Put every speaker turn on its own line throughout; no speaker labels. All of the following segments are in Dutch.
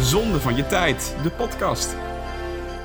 Zonde van je tijd, de podcast.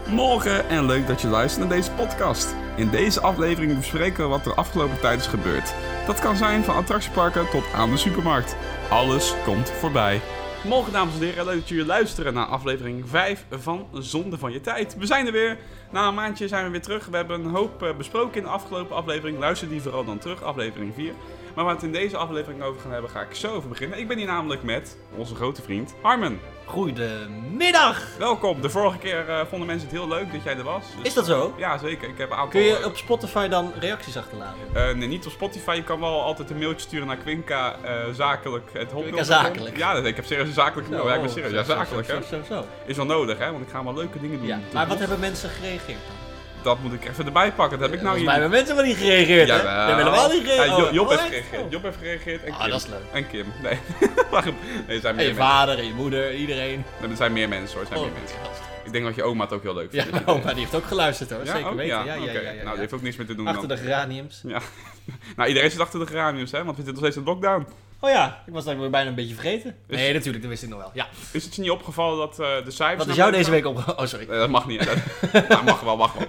Morgen en leuk dat je luistert naar deze podcast. In deze aflevering bespreken we wat er afgelopen tijd is gebeurd. Dat kan zijn van attractieparken tot aan de supermarkt. Alles komt voorbij. Morgen, dames en heren, leuk dat jullie luisteren naar aflevering 5 van Zonde van je tijd. We zijn er weer. Na een maandje zijn we weer terug. We hebben een hoop eh, besproken in de afgelopen aflevering. Luister die vooral dan terug, aflevering 4. Maar waar we het in deze aflevering over gaan hebben, ga ik zo over beginnen. Ik ben hier namelijk met onze grote vriend Harmen.
Goedemiddag!
Welkom. De vorige keer eh, vonden mensen het heel leuk dat jij er was. Dus-
Is dat zo?
Ja, zeker. Ik heb een aantal...
Kun je op Spotify dan reacties achterlaten?
eh, nee, niet op Spotify. Je kan wel altijd een mailtje sturen naar Quinca eh, zakelijk. Het hotmail.com.
Quinca zakelijk. Oh,
Ja, dat- ik heb serieus een zakelijke mail. Ja, ik ben serieus. Ja,
Zo, zo,
zakelijk, hè.
Zo, zo, zo.
Is wel nodig, hè? Want ik ga wel leuke dingen doen. Dus
Ja, maar wat hebben mensen gereageerd
Oh,
dan?
Dat moet ik even erbij pakken. Dat heb ik nou
Volgens
hier.
mij hebben mensen wel niet gereageerd, hè?
Jawel.
We hebben helemaal niet gereageerd.
Ja, Jo- Job
Oh,
heeft
echt?
gereageerd. Job heeft gereageerd en
Ah,
Kim.
dat is leuk.
En Kim. Nee, waarom? Nee, er zijn
En
meer
je
mensen.
vader en je moeder, iedereen.
Nee, Er zijn meer mensen hoor. Er zijn
Oh,
meer mensen.
gast.
Ik denk dat je oma het ook heel leuk
Ja,
vindt.
mijn oma die heeft ook geluisterd hoor, zeker
ook?
weten. Ja, ja, ja,
oké.
ja, ja.
Nou, die heeft ook niks meer te doen
Achter
dan.
de geraniums.
Ja. nou, iedereen zit achter de geraniums, hè? Want we zitten nog steeds in lockdown.
Oh ja, ik was daar weer bijna een beetje vergeten.
Dus-
Nee, natuurlijk, dat wist ik nog wel. Ja.
Is het je niet opgevallen dat eh, de cijfers...
Wat is
naar
jou
boven
deze
gaan?
week op... Oh, sorry.
Nee, dat mag niet. Dat nou, mag wel, mag wel.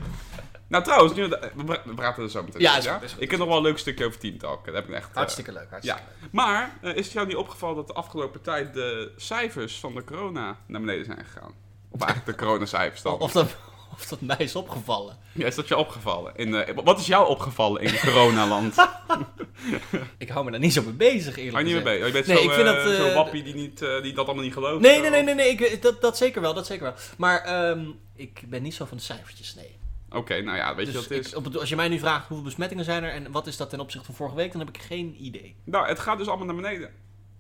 Nou, trouwens, nu, we pra- we praten er zo meteen
Ja,
over,
is goed, is goed,
Ik heb nog wel een leuk stukje over Team Talk. Dat heb ik echt... eh,
Hartstikke leuk, hartstikke
ja. Maar, eh, is het jou niet opgevallen dat de afgelopen tijd de cijfers van de corona naar beneden zijn gegaan? Of eigenlijk de coronacijfers dan?
leuk. Of dat, of dat mij is opgevallen.
Ja, is dat je opgevallen? In, eh, wat is jou opgevallen in coronaland? Hou
Ik hou me daar niet zo mee bezig, eerlijk
je niet meer
gezegd.
bij. Je bent
Nee,
zo,
ik vind dat, eh,
zo'n wappie die, niet, eh, die dat allemaal niet gelooft.
Nee,
eh,
nee, nee, nee, nee, ik, dat, dat zeker wel, dat zeker wel. Maar ehm, ik ben niet zo van de cijfertjes, nee.
Oké, nou ja, weet je
dus
wat het is?
ik, op het- als je mij nu vraagt hoeveel besmettingen zijn er en wat is dat ten opzichte van vorige week, dan heb ik geen idee.
Nou, het gaat dus allemaal naar beneden.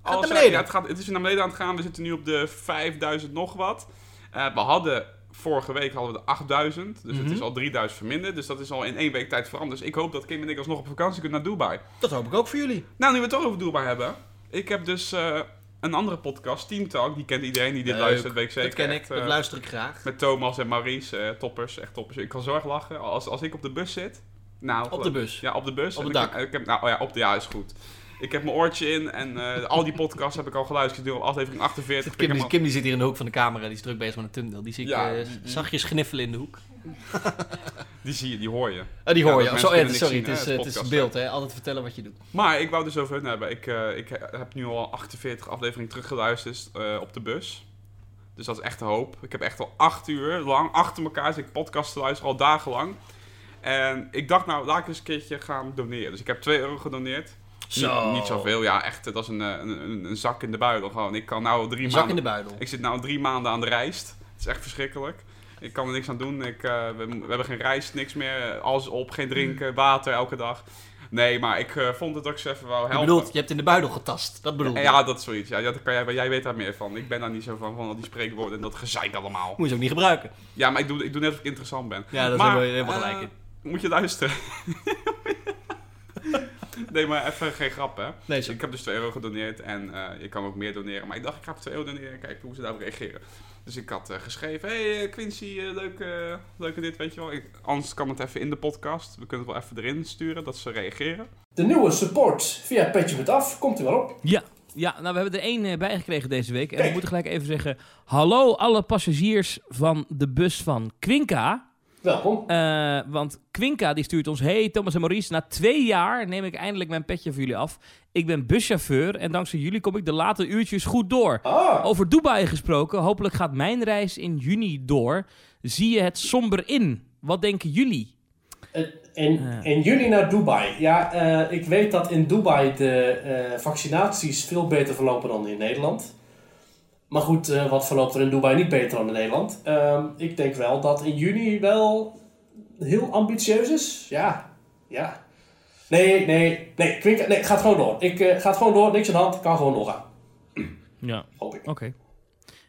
Gaat
Alles-
naar beneden?
Ja, het, gaat, het is naar beneden aan het gaan. We zitten nu op de 5000 nog wat. Eh, we hadden vorige week hadden we de 8000. Dus
Mhm.
het is al 3000 verminderd. Dus dat is al in één week tijd veranderd. Dus ik hoop dat Kim en ik alsnog op vakantie kunnen naar Dubai.
Dat hoop ik ook voor jullie.
Nou, nu we het toch over Dubai hebben. Ik heb dus eh, een andere podcast, Team Talk. Die kent iedereen die dit
Leuk.
luistert, weet ik zeker.
dat ken ik,
Echt,
dat
eh,
luister ik graag.
met Thomas en Maurice, eh, toppers, echt toppers. Ik kan zo erg lachen. Als, als ik op de bus zit. Nou,
Op de bus.
ja, op de bus.
Op
En
het
ik-
dak.
Ik heb, nou oh ja, op de, ja, is goed. Ik heb mijn oortje in en eh, al die podcasts heb ik al geluisterd. Ik zit nu op aflevering 48. Ik
Kim,
heb
is-
hem
Kim die zit hier in de hoek van de camera, die is druk bezig met een thumbnail. Die zie ik
Ja.
eh, z- zachtjes gniffelen in de hoek.
al- die zie je, die hoor je.
Oh, die
Ja,
hoor
dat
je. Oh,
mensen
zo, eh,
kunnen
sorry,
niks
het is,
zien, hè,
eh,
het
het
podcast,
is beeld, hè. Altijd vertellen wat je doet.
Maar ik wou dus over hun hebben. Ik, eh, ik he- heb nu al 48 afleveringen teruggeluisterd eh, op de bus. Dus dat is echt een hoop. Ik heb echt al acht uur lang achter elkaar zit ik podcasts te luisteren, al dagenlang. En ik dacht nou, laat ik eens een keertje gaan doneren. Dus ik heb 2 euro gedoneerd. Niet, niet zoveel, ja, echt. eh, Dat is een, eh, een, een, een zak in de buidel gewoon. Ik kan nou drie
Zak in
maanden...
de buidel.
Ik zit nu drie maanden aan de rijst. Het is echt verschrikkelijk. Ik kan er niks aan doen. Ik, eh, we, we hebben geen rijst, niks meer. Alles op, geen
Mm.
drinken, water elke dag. Nee, maar ik eh, vond het ook eens even wel
Je
helpen.
bedoelt, je hebt in de buidel getast. Dat bedoel
En
je.
ja, dat is zoiets. Ja, dat kan jij, jij weet daar meer van. Ik ben daar niet zo van, van al die spreekwoorden en dat gezeik allemaal.
Moet je ze ook niet gebruiken.
Ja, maar ik doe, ik doe net of ik interessant ben.
Ja, dat
maar,
hebben we helemaal
eh,
gelijk in.
Moet je luisteren. nee, maar even geen grap, hè.
Nee,
Dus
zo.
ik heb dus 2 euro gedoneerd en eh, je kan ook meer doneren. Maar ik dacht, ik ga op 2 euro doneren kijken hoe ze daarop reageren. Dus ik had eh, geschreven, hey eh, Quincy, eh, leuk, eh, leuke dit, weet je wel. Ik- anders kan het even in de podcast. We kunnen het wel even erin sturen, dat ze reageren.
De nieuwe support via Petje met Af komt er wel op.
Ja, ja, nou we hebben er één eh, bijgekregen deze week. En we
Kijk.
moeten gelijk even zeggen... Hallo alle passagiers van de bus van Quinca.
Welkom.
Eh, want Quinca die stuurt ons... Hey Thomas en Maurice, na twee jaar neem ik eindelijk mijn petje voor jullie af. Ik ben buschauffeur en dankzij jullie kom ik de late uurtjes goed door.
Ah,
Over Dubai gesproken, hopelijk gaat mijn reis in juni door. Zie je het somber in? Wat denken jullie?
en, en, en jullie naar Dubai. Ja, eh, ik weet dat in Dubai de eh, vaccinaties veel beter verlopen dan in Nederland. Maar goed, eh, wat verloopt er in Dubai niet beter dan in Nederland? Ehm, ik denk wel dat in juni wel heel ambitieus is. Ja, ja. Nee, nee, nee, Quinca, nee, gaat gewoon door. Ik eh, gaat gewoon door, niks aan de hand, kan gewoon doorgaan.
Ja,
Hoop ik.
oké.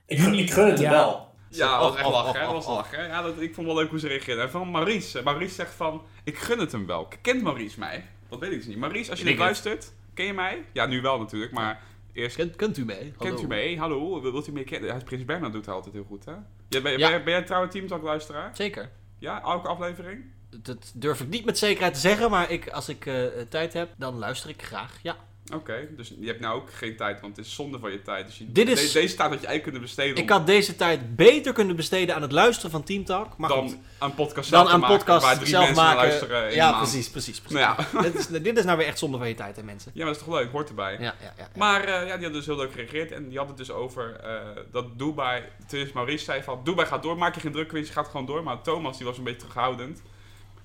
Ik, gun- ik gun het hem
Ja.
wel.
Ja, dat was echt
oh,
lachen,
oh,
hè. Dat was
oh, oh.
lachen. hè. Ja, dat, ik vond wel leuk hoe ze reageerden. En van Maurice. Eh, Maurice zegt van, ik gun het hem wel. Kent Maurice mij? Dat weet ik dus niet. Maurice, als je
Ik
dit
denk
luistert, ken je mij? Ja, nu wel natuurlijk, maar eerst...
Kent, kent u mee? Hallo.
Kent u mee? Hallo, wilt u mee kennen? Ja, Prins Bernhard doet het altijd heel goed, hè? Ja, ben,
Ja.
Ben, ben jij trouw Team Talk luisteraar?
Zeker.
Ja, elke aflevering?
Dat durf ik niet met zekerheid te zeggen, maar ik, als ik eh, tijd heb, dan luister ik graag. Ja.
Oké, dus je hebt nou ook geen tijd, want het is zonde van je tijd. Dus je,
Dit is-
de- deze tijd had je eigenlijk kunnen besteden om-
Ik had deze tijd beter kunnen besteden aan het luisteren van Team Talk. Maar goed,
dan aan podcast zelf
dan
te
aan
maken, waar
podcast
drie
zelf
mensen naar
maken.
luisteren in
ja,
de maand.
precies, precies. precies.
Nou ja.
dit, is, dit is nou weer echt zonde van je tijd, hè, mensen.
Ja, maar dat is toch leuk, hoort erbij.
Ja, ja, ja. ja.
Maar eh, ja, die hadden dus heel leuk gereageerd. En die hadden het dus over eh, dat Dubai... Tenminste, Maurice zei van... Dubai gaat door, maak je geen druk, Quincy gaat gewoon door. Maar Thomas, die was een beetje terughoudend.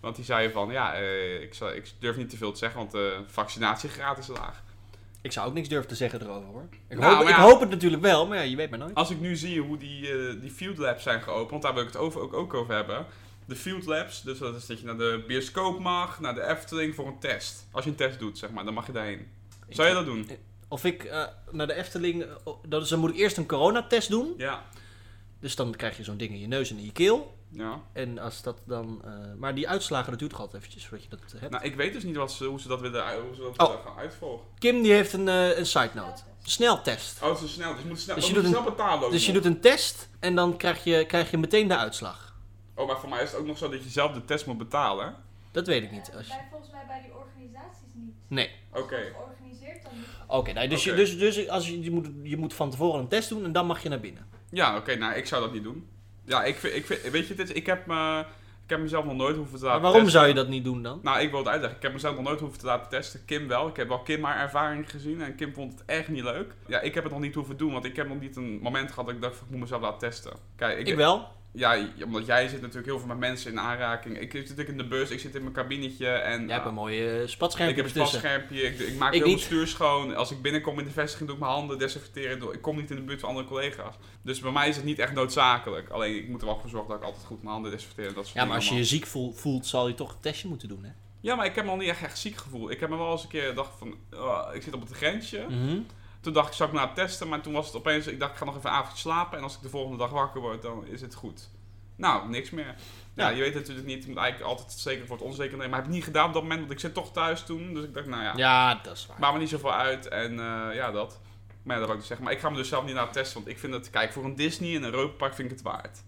Want die zei van... Ja, eh, ik, zal, ik durf niet te veel te zeggen, want de vaccinatiegraad is laag.
Ik zou ook niks durven te zeggen erover hoor. Ik,
Nou,
hoop,
maar
ik
ja.
hoop het natuurlijk wel, maar ja, je weet maar nooit.
Als ik nu zie hoe die, eh, die Field Labs zijn geopend, want daar wil ik het over, ook, ook over hebben. De Field Labs, dus dat is dat je naar de bioscoop mag, naar de Efteling voor een test. Als je een test doet, zeg maar, dan mag je daarheen. Zou je dat doen?
Of ik eh, naar de Efteling. eh, dat is, dan moet ik eerst een coronatest doen.
Ja.
Dus dan krijg je zo'n ding in je neus en in je keel.
Ja.
En als dat dan. eh, maar die uitslagen, dat duurt toch altijd eventjes voordat je dat eh, hebt.
Nou, ik weet dus niet wat ze, hoe ze dat willen hoe ze dat
Oh.
willen gaan uitvolgen.
Kim die heeft een, eh een side note: sneltest.
Oh, ze snel. Dus je moet snel,
Dus
dus
je
je moet
doet
snel betalen ook
Dus je
nog.
doet een test en dan krijg je, krijg je meteen de uitslag.
Oh, maar voor mij is het ook nog zo dat je zelf de test moet betalen.
Dat weet ik niet. Als je-
Bij, volgens mij bij die organisaties niet.
Nee.
Als
Oké.
dat georganiseerd dan niet.
Oké, nou, dus,
Oké.
je, dus, dus als je, je, moet, je moet van tevoren een test doen en dan mag je naar binnen.
Ja, oké. nou, ik zou dat niet doen. Ja, ik, vind- ik vind- weet je, dit, is- ik, heb, me- ik heb mezelf nog nooit hoeven te
Maar
laten
waarom
testen.
zou je dat niet doen dan?
Nou, ik wil het uitleggen. Ik heb mezelf nog nooit hoeven te laten testen. Kim wel. Ik heb wel Kim haar ervaring gezien en Kim vond het echt niet leuk. Ja, ik heb het nog niet hoeven doen, want ik heb nog niet een moment gehad dat ik dacht, van, ik moet mezelf laten testen. Kijk,
Ik wel.
Ja, omdat jij zit natuurlijk heel veel met mensen in aanraking. Ik zit natuurlijk in de bus, ik zit in mijn kabinetje en...
Jij hebt
eh,
een mooie eh, spatscherm
Ik heb een
ertussen.
spatschermpje, ik, ik maak
Ik
heel mijn
niet.
stuur schoon. Als ik binnenkom in de vestiging doe ik mijn handen desinfecteren. Ik doe- Ik kom niet in de buurt van andere collega's. Dus bij mij is het niet echt noodzakelijk. Alleen ik moet er wel voor zorgen dat ik altijd goed mijn handen desinfecteer. en Dat soort
Ja, maar als je
dingen
je ziek voel- voelt, zal je toch een testje moeten doen, hè?
allemaal. ja, maar ik heb me al niet echt, echt ziek gevoeld. Ik heb me wel eens een keer gedacht van, ah, ik zit op het grensje.
Mhm.
Toen dacht ik, zou ik me laten testen? Maar toen was het opeens, ik dacht, ik ga nog even een avondje slapen. En als ik de volgende dag wakker word, dan is het goed. Nou, niks meer. Ja,
Ja.
je weet het natuurlijk niet. Je moet eigenlijk altijd het zeker voor het onzeker nemen. Maar ik heb ik niet gedaan op dat moment, want ik zit toch thuis toen. Dus ik dacht, nou ja.
Ja, dat is waar.
Maakt me niet zoveel uit en eh, ja, dat. Maar ja, dat wil ik dus zeggen. Maar ik ga me dus zelf niet laten testen, want ik vind het... Kijk, voor een Disney en een Europark vind ik het waard.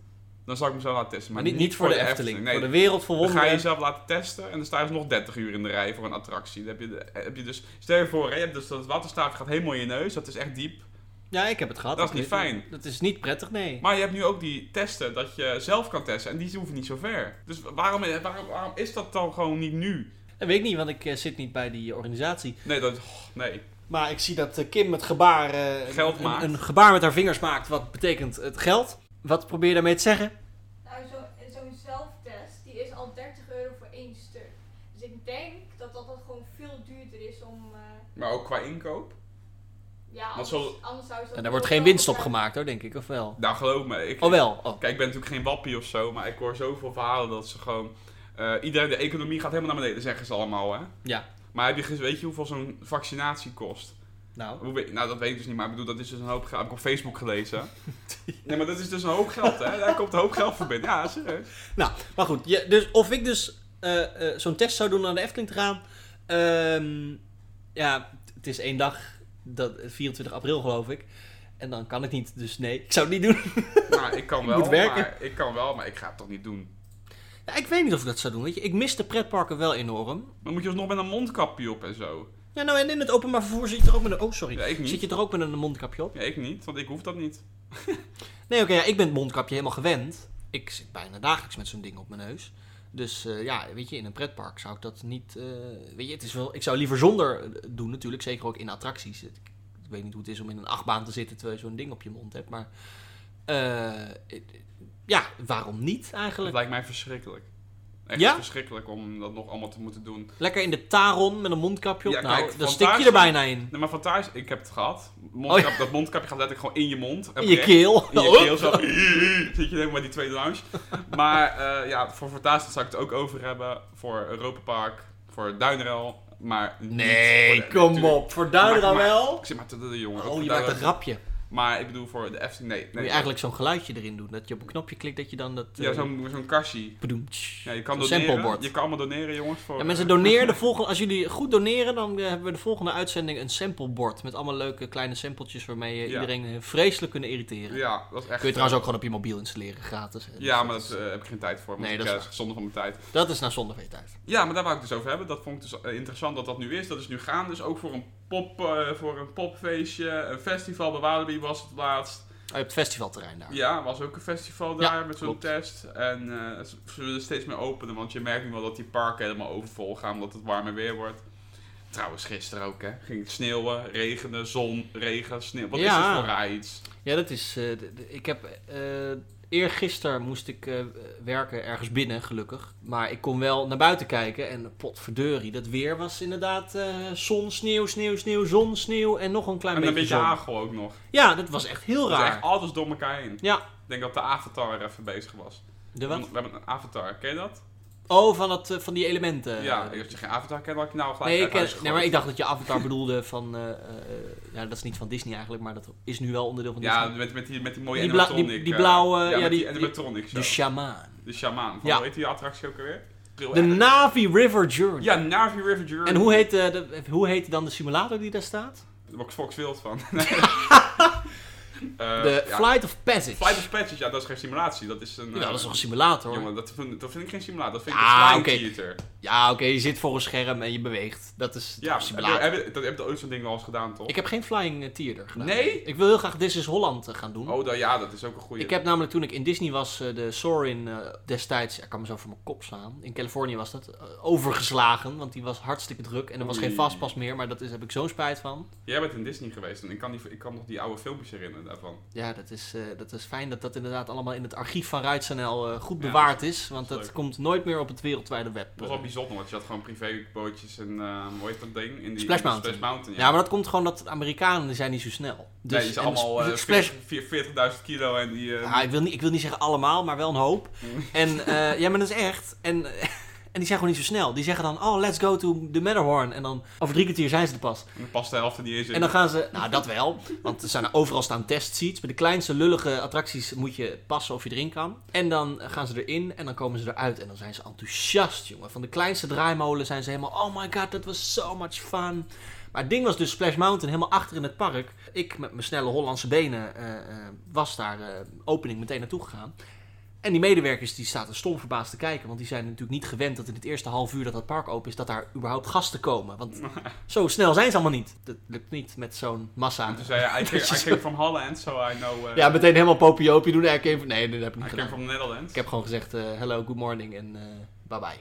Dan zal ik mezelf laten testen.
maar
Maar
niet, niet voor de Efteling.
Nee,
Voor de wereld vol
dan ga je
wonderen.
jezelf laten testen en dan sta je nog 30 uur in de rij voor een attractie. Dan heb je, de- heb je dus... Stel je voor, hè, je hebt dus dat waterstaafje gaat helemaal in je neus. Dat is echt diep.
Ja, ik heb het gehad.
Dat is
ik
niet
weet het.
fijn.
Dat is niet prettig, nee.
Maar je hebt nu ook die testen dat je zelf kan testen. En die hoeven niet zo ver. Dus waarom, waarom, waarom is dat dan gewoon niet nu?
Dat weet ik niet, want ik eh, zit niet bij die organisatie.
Nee, dat... oh, nee.
Maar ik zie dat eh, Kim met gebaar... eh,
Geld
een,
maakt.
Een gebaar met haar vingers maakt, wat betekent het geld. Wat probeer je daarmee te zeggen?
Nou, zo- zo'n zelftest die is al 30 euro voor één stuk. Dus ik denk dat dat, dat gewoon veel duurder is om. eh,
Maar ook qua inkoop?
ja,
Want
anders,
zo-
anders zou je zo-
En daar wordt geen winst op gemaakt, hoor, denk ik, of wel?
Nou, geloof me. Ik,
Oh, wel. Oh.
Kijk, ik ben natuurlijk geen wappie of zo, maar ik hoor zoveel verhalen dat ze gewoon. eh iedereen, de economie gaat helemaal naar beneden, zeggen ze allemaal, hè?
Ja.
Maar heb je, gez- weet je hoeveel zo'n vaccinatie kost?
Nou,
Hoe weet- nou, dat weet ik dus niet, maar ik bedoel, dat is dus een hoop geld. Heb ik op Facebook gelezen. Nee, maar dat is dus een hoop geld, hè? Daar komt een hoop geld voor binnen. Ja, serieus.
Nou, maar goed. Je, dus of ik dus eh, eh, zo'n test zou doen om naar de Efteling te gaan. Ehm, ja, t- het is één dag. Dat, 24 april geloof ik. En dan kan ik niet. Dus nee, ik zou het niet doen.
Nou, ik kan wel,
moet werken.
maar ik kan wel, maar ik ga het toch niet doen.
Nou, ik weet niet of ik dat zou doen. Weet je. Ik mis de pretparken wel enorm.
Maar moet je nog met een mondkapje op en zo?
Ja, nou, en in het openbaar vervoer zit je er ook met een... Oh, sorry.
Ja, ik niet.
Zit je er ook met een mondkapje op?
Ja, ik niet, want ik hoef dat niet.
Nee, oké, ja, ik ben het mondkapje helemaal gewend. Ik zit bijna dagelijks met zo'n ding op mijn neus. Dus eh, ja, weet je, in een pretpark zou ik dat niet. eh, weet je, het is wel, ik zou liever zonder eh, doen, natuurlijk. Zeker ook in attracties. Ik, ik weet niet hoe het is om in een achtbaan te zitten terwijl je zo'n ding op je mond hebt. Maar eh, eh, ja, waarom niet
Dat
eigenlijk?
lijkt mij verschrikkelijk. Echt
Ja?
verschrikkelijk om dat nog allemaal te moeten doen.
Lekker in de taron met een mondkapje op.
Ja,
nou,
kijk,
dan
van
stik je
daar
er bijna in.
Nee, maar van thuis, ik heb het gehad. Mondkap,
Oh
Dat mondkapje gaat letterlijk gewoon in je mond.
In je keel.
In je keel zo. Zit je helemaal bij die tweede lounge. Maar eh, ja, voor Fantasia zou ik het ook over hebben. Voor Europa Park, voor Duinrel. Maar niet
Nee,
voor de-
kom
natuurlijk.
op. Voor daar dan
Maar-
wel.
Ik zit maar te de jongen. ook
Oh,
voor
je maakt een
Duinrel.
grapje.
Maar ik bedoel voor de FC, nee. nee
Moet je eigenlijk zo'n geluidje erin doen. Dat je op een knopje klikt dat je dan dat...
Ja,
eh,
zo'n zo'n kastje.
bedoemtsch.
Ja, je kan
Zo'n
doneren.
samplebord.
Je kan allemaal doneren, jongens. Voor,
Ja, mensen doneren de volgende. Als jullie goed doneren, dan eh, hebben we de volgende uitzending een samplebord. Met allemaal leuke kleine sampletjes waarmee je
Ja.
iedereen eh, vreselijk kunnen irriteren.
Ja, dat is echt...
Kun je trouwens ook gewoon op je mobiel installeren, gratis.
Ja, maar daar heb ik geen tijd voor. Want
Nee,
nee,
dat
dat
is
is gezonde van mijn tijd.
Dat is nou zonde van je tijd.
Ja, maar daar wou ik dus over hebben. Dat vond ik dus eh, interessant dat dat nu is. Dat is nu gaan. Dus ook voor een pop, eh, voor een popfeestje. Een festival bij Walibi was het laatst.
je hebt festivalterrein daar.
Ja, er was ook een festival
Ja,
daar met zo'n
klopt.
test. En eh, ze ze willen steeds meer openen, want je merkt nu wel dat die parken helemaal overvol gaan, omdat het warmer weer wordt. Trouwens, gisteren ook, hè. Ging het sneeuwen, regenen, zon, regen, sneeuw. Wat is
Ja.
het voor raar iets?
Ja, dat is. eh, de- de- ik heb. eh eergisteren moest ik eh, werken ergens binnen, gelukkig. Maar ik kon wel naar buiten kijken en potverdeurie. Dat weer was inderdaad eh, zon, sneeuw, sneeuw, sneeuw, zon, sneeuw en nog een klein
En een
beetje,
beetje
zon.
hagel ook nog.
Ja, dat was echt heel
Dat is
raar.
echt alles door elkaar heen.
Ja.
Ik denk dat de avatar er even bezig was.
De wat?
We hebben een avatar, ken je dat?
Oh, van, dat, eh, van die elementen.
ja, als je geen avatar kent, had ik nou gelijk
Nee, ik,
uit huis
ken- nee, maar ik
gegooid.
dacht dat je Avatar bedoelde van... eh, eh, eh, ja, dat is niet van Disney eigenlijk, maar dat is nu wel onderdeel van
Ja,
Disney.
met, met, die, met die mooie
Die bla- die-
animatronic.
die
eh,
blauwe, ja,
ja, met
die-
die
die-
animatronic show.
de shamaan.
De shamaan. Van,
Ja.
Hoe heet die attractie ook alweer? Bril-
De Navi River Journey.
Oh, Ja, Navi River Journey.
En hoe heet, eh, de, hoe heet dan de simulator die daar staat?
Daar word ik Fox wild van. Nee. Eh,
de
ja.
Flight of Passage.
Flight of Passage, ja, dat is geen simulatie. Dat is een...
Ja,
eh,
dat is toch een simulator?
Jongen, dat vind, dat vind ik geen simulator. Dat vind ik
Ah,
een
oké.
flying theater.
Ja, oké, je zit voor een scherm en je beweegt. Dat is dat is
Ja,
een
heb
simulator.
je, heb, je, dat, heb je ooit zo'n ding wel eens gedaan, toch?
Ik heb geen Flying eh, Theater gedaan.
Nee?
Ik wil heel graag This is Holland eh, gaan doen.
Oh, dat, ja, dat is ook een goede.
Ik heb namelijk toen ik in Disney was, eh, de Sorin eh, destijds, ik kan me zo voor mijn kop slaan. In Californië was dat eh, overgeslagen, want die was hartstikke druk en er was
Oei.
geen vastpas meer, maar dat is, heb ik zo'n spijt van.
Jij bent in Disney geweest en ik kan, die, ik kan nog die oude filmpjes herinneren daarvan.
Ja, dat is, eh, dat is fijn dat dat inderdaad allemaal in het archief van RuitNL eh goed
Ja,
bewaard is,
dat
want dat
is leuk.
komt nooit meer op het wereldwijde web. eh.
Dat was wel bijzonder, want je had gewoon privébootjes en eh hoe heet dat ding? In die,
Splash Mountain.
Splash Mountain, ja.
Ja, maar dat komt gewoon dat de Amerikanen die zijn niet zo snel. Dus
Nee, die
en
zijn allemaal
sp-
eh,
Splash
40.000 kilo en die... eh,
Ja, ik wil, niet, ik wil niet zeggen allemaal, maar wel een hoop.
Mm.
En eh, ja, maar dat is echt. En, eh, en die zijn gewoon niet zo snel. Die zeggen dan, oh, let's go to the Matterhorn. En dan over drie kwartier zijn ze er pas.
en dan past de helft er niet eens in.
En dan gaan ze, nou dat wel, want er zijn overal staan testseats. Bij de kleinste lullige attracties moet je passen of je erin kan. En dan gaan ze erin en dan komen ze eruit en dan zijn ze enthousiast, jongen. Van de kleinste draaimolen zijn ze helemaal, oh my god, dat was so much fun. Maar het ding was dus Splash Mountain helemaal achter in het park. Ik met mijn snelle Hollandse benen eh, eh, was daar eh, opening meteen naartoe gegaan. En die medewerkers die zaten stom verbaasd te kijken, want die zijn natuurlijk niet gewend dat in het eerste half uur dat dat park open is, dat daar überhaupt gasten komen. Want zo snel zijn ze allemaal niet. Dat lukt niet met zo'n massa.
En toen zei je, I came, I came from Holland, so I know... eh, Ah,
Ja, meteen helemaal popiopie doen. Nee, ik heb- nee, dat heb ik niet
I
gedaan.
came from Netherlands.
Ik heb gewoon gezegd, eh, hello, good morning en eh, bye bye.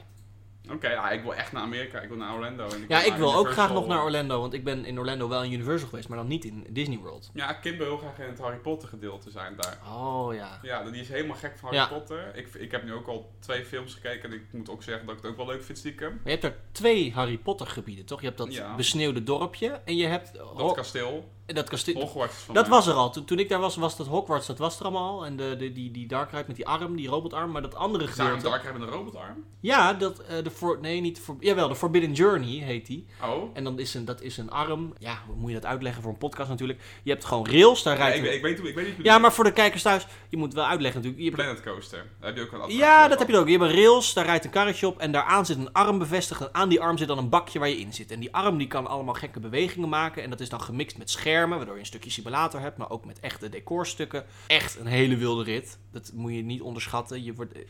Oké, ja, ik wil echt naar Amerika. Ik wil naar Orlando. En
Ja, ik wil ook graag nog naar
Orlando.
Orlando, want ik ben in Orlando wel in Universal geweest, maar dan niet in Disney World.
Ja, Kim wil heel graag in het Harry Potter gedeelte zijn daar.
Oh ja.
Ja, die is helemaal gek van Harry
Ja.
Potter. Ik, ik heb nu ook al twee films gekeken en ik moet ook zeggen dat ik het ook wel leuk vind stiekem.
Maar je hebt er twee Harry Potter gebieden, toch? Je hebt dat
Ja.
besneeuwde dorpje en je hebt
Dat
Ho-
kasteel,
Oh. dat kasteel.
Hogwarts is van
Dat
mij.
was er al. Toen, toen ik daar was, was dat Hogwarts, dat was er allemaal. En de, de, die, die Dark Ride met die arm, die robotarm. Maar dat andere
Zou een
gedeelte...
dark hebben een robotarm?
Ja, dat, eh, de For- nee, niet de For- jawel, de Forbidden Journey heet die.
Oh.
En dan is een, dat is een arm. Ja, hoe moet je dat uitleggen voor een podcast natuurlijk? Je hebt gewoon rails, daar
Ja,
rijdt
ik,
een-
weet- ik weet hoe- ik weet niet hoe
Ja, maar voor de kijkers thuis, je moet wel uitleggen natuurlijk. Je hebt-
Planet Coaster. Daar heb je ook wel
Ja, dat heb je ook. Je hebt een rails, daar rijdt een karretje op en daaraan zit een arm bevestigd. En aan die arm zit dan een bakje waar je in zit. En die arm die kan allemaal gekke bewegingen maken. En dat is dan gemixt met schermen, waardoor je een stukje simulator hebt, maar ook met echte decorstukken. Echt een hele wilde rit. Dat moet je niet onderschatten. Je, wordt, eh,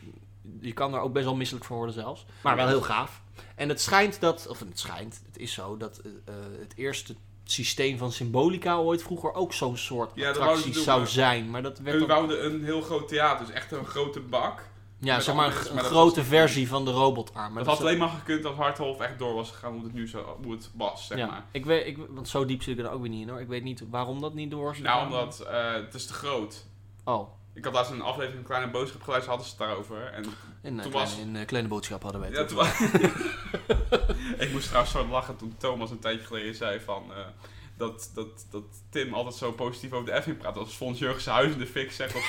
je kan er ook best wel misselijk van worden zelfs. Maar wel heel gaaf. En het schijnt dat, of het schijnt, het is zo, dat eh, eh, het eerste systeem van symbolica ooit vroeger ook zo'n soort
Ja, dat wouden ze
attractie
doen,
zou
maar-
zijn. Maar dat werd
We
dan-
wouden een heel groot theater, dus echt een grote bak.
ja,
Met
zeg maar een,
andere mensen,
een
maar dat
grote versie van de robotarm. Maar
dat had
is-
alleen maar gekund als Harthof echt door was gegaan hoe het nu zo, hoe het was, zeg
ja.
maar.
Ik weet, ik, want zo diep zit ik er ook weer niet in hoor. Ik weet niet waarom dat niet door is
Nou,
gegaan.
omdat eh, het is te groot.
Oh,
Ik had laatst een aflevering een kleine boodschap geluisterd, hadden ze het daarover. En
in, eh,
Toen
kleine,
was-
in eh, kleine boodschap hadden we het.
ja, toen- ik moest trouwens zo lachen toen Thomas een tijdje geleden zei van... eh, dat, dat, dat Tim altijd zo positief over de Effing praat. Als Fons Jurgen zijn huis in de fik zegt. Dat,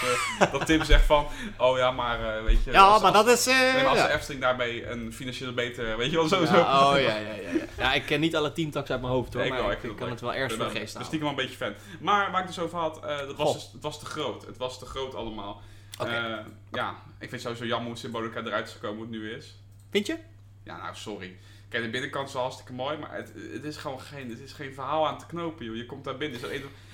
eh, dat Tim zegt van... Oh ja, maar eh, weet je...
Ja,
als-
maar
als-
dat is... eh,
nee, maar als de
ja.
Efteling daarmee een financieel beter... Weet je wel,
Ja,
sowieso.
oh ja, ja, ja, ja. Ja, ik ken niet alle teamtaks uit mijn hoofd hoor,
Nee, ik
maar
wel,
ik,
ik vind
ik
het
kan het wel ergens voor de geest
Dus
halen.
stiekem wel een beetje fan. Maar waar ik dus over had, eh, dat was
Goh.
dus, het was te groot. Het was te groot allemaal.
Oké.
Eh, ja, ik vind het sowieso jammer hoe Symbolica eruit is gekomen hoe het nu is.
Vind je?
Ja, nou, sorry. Kijk, de binnenkant is wel hartstikke mooi, maar het, het is gewoon geen, het is geen verhaal aan te knopen, joh. Je komt daar binnen. Zo,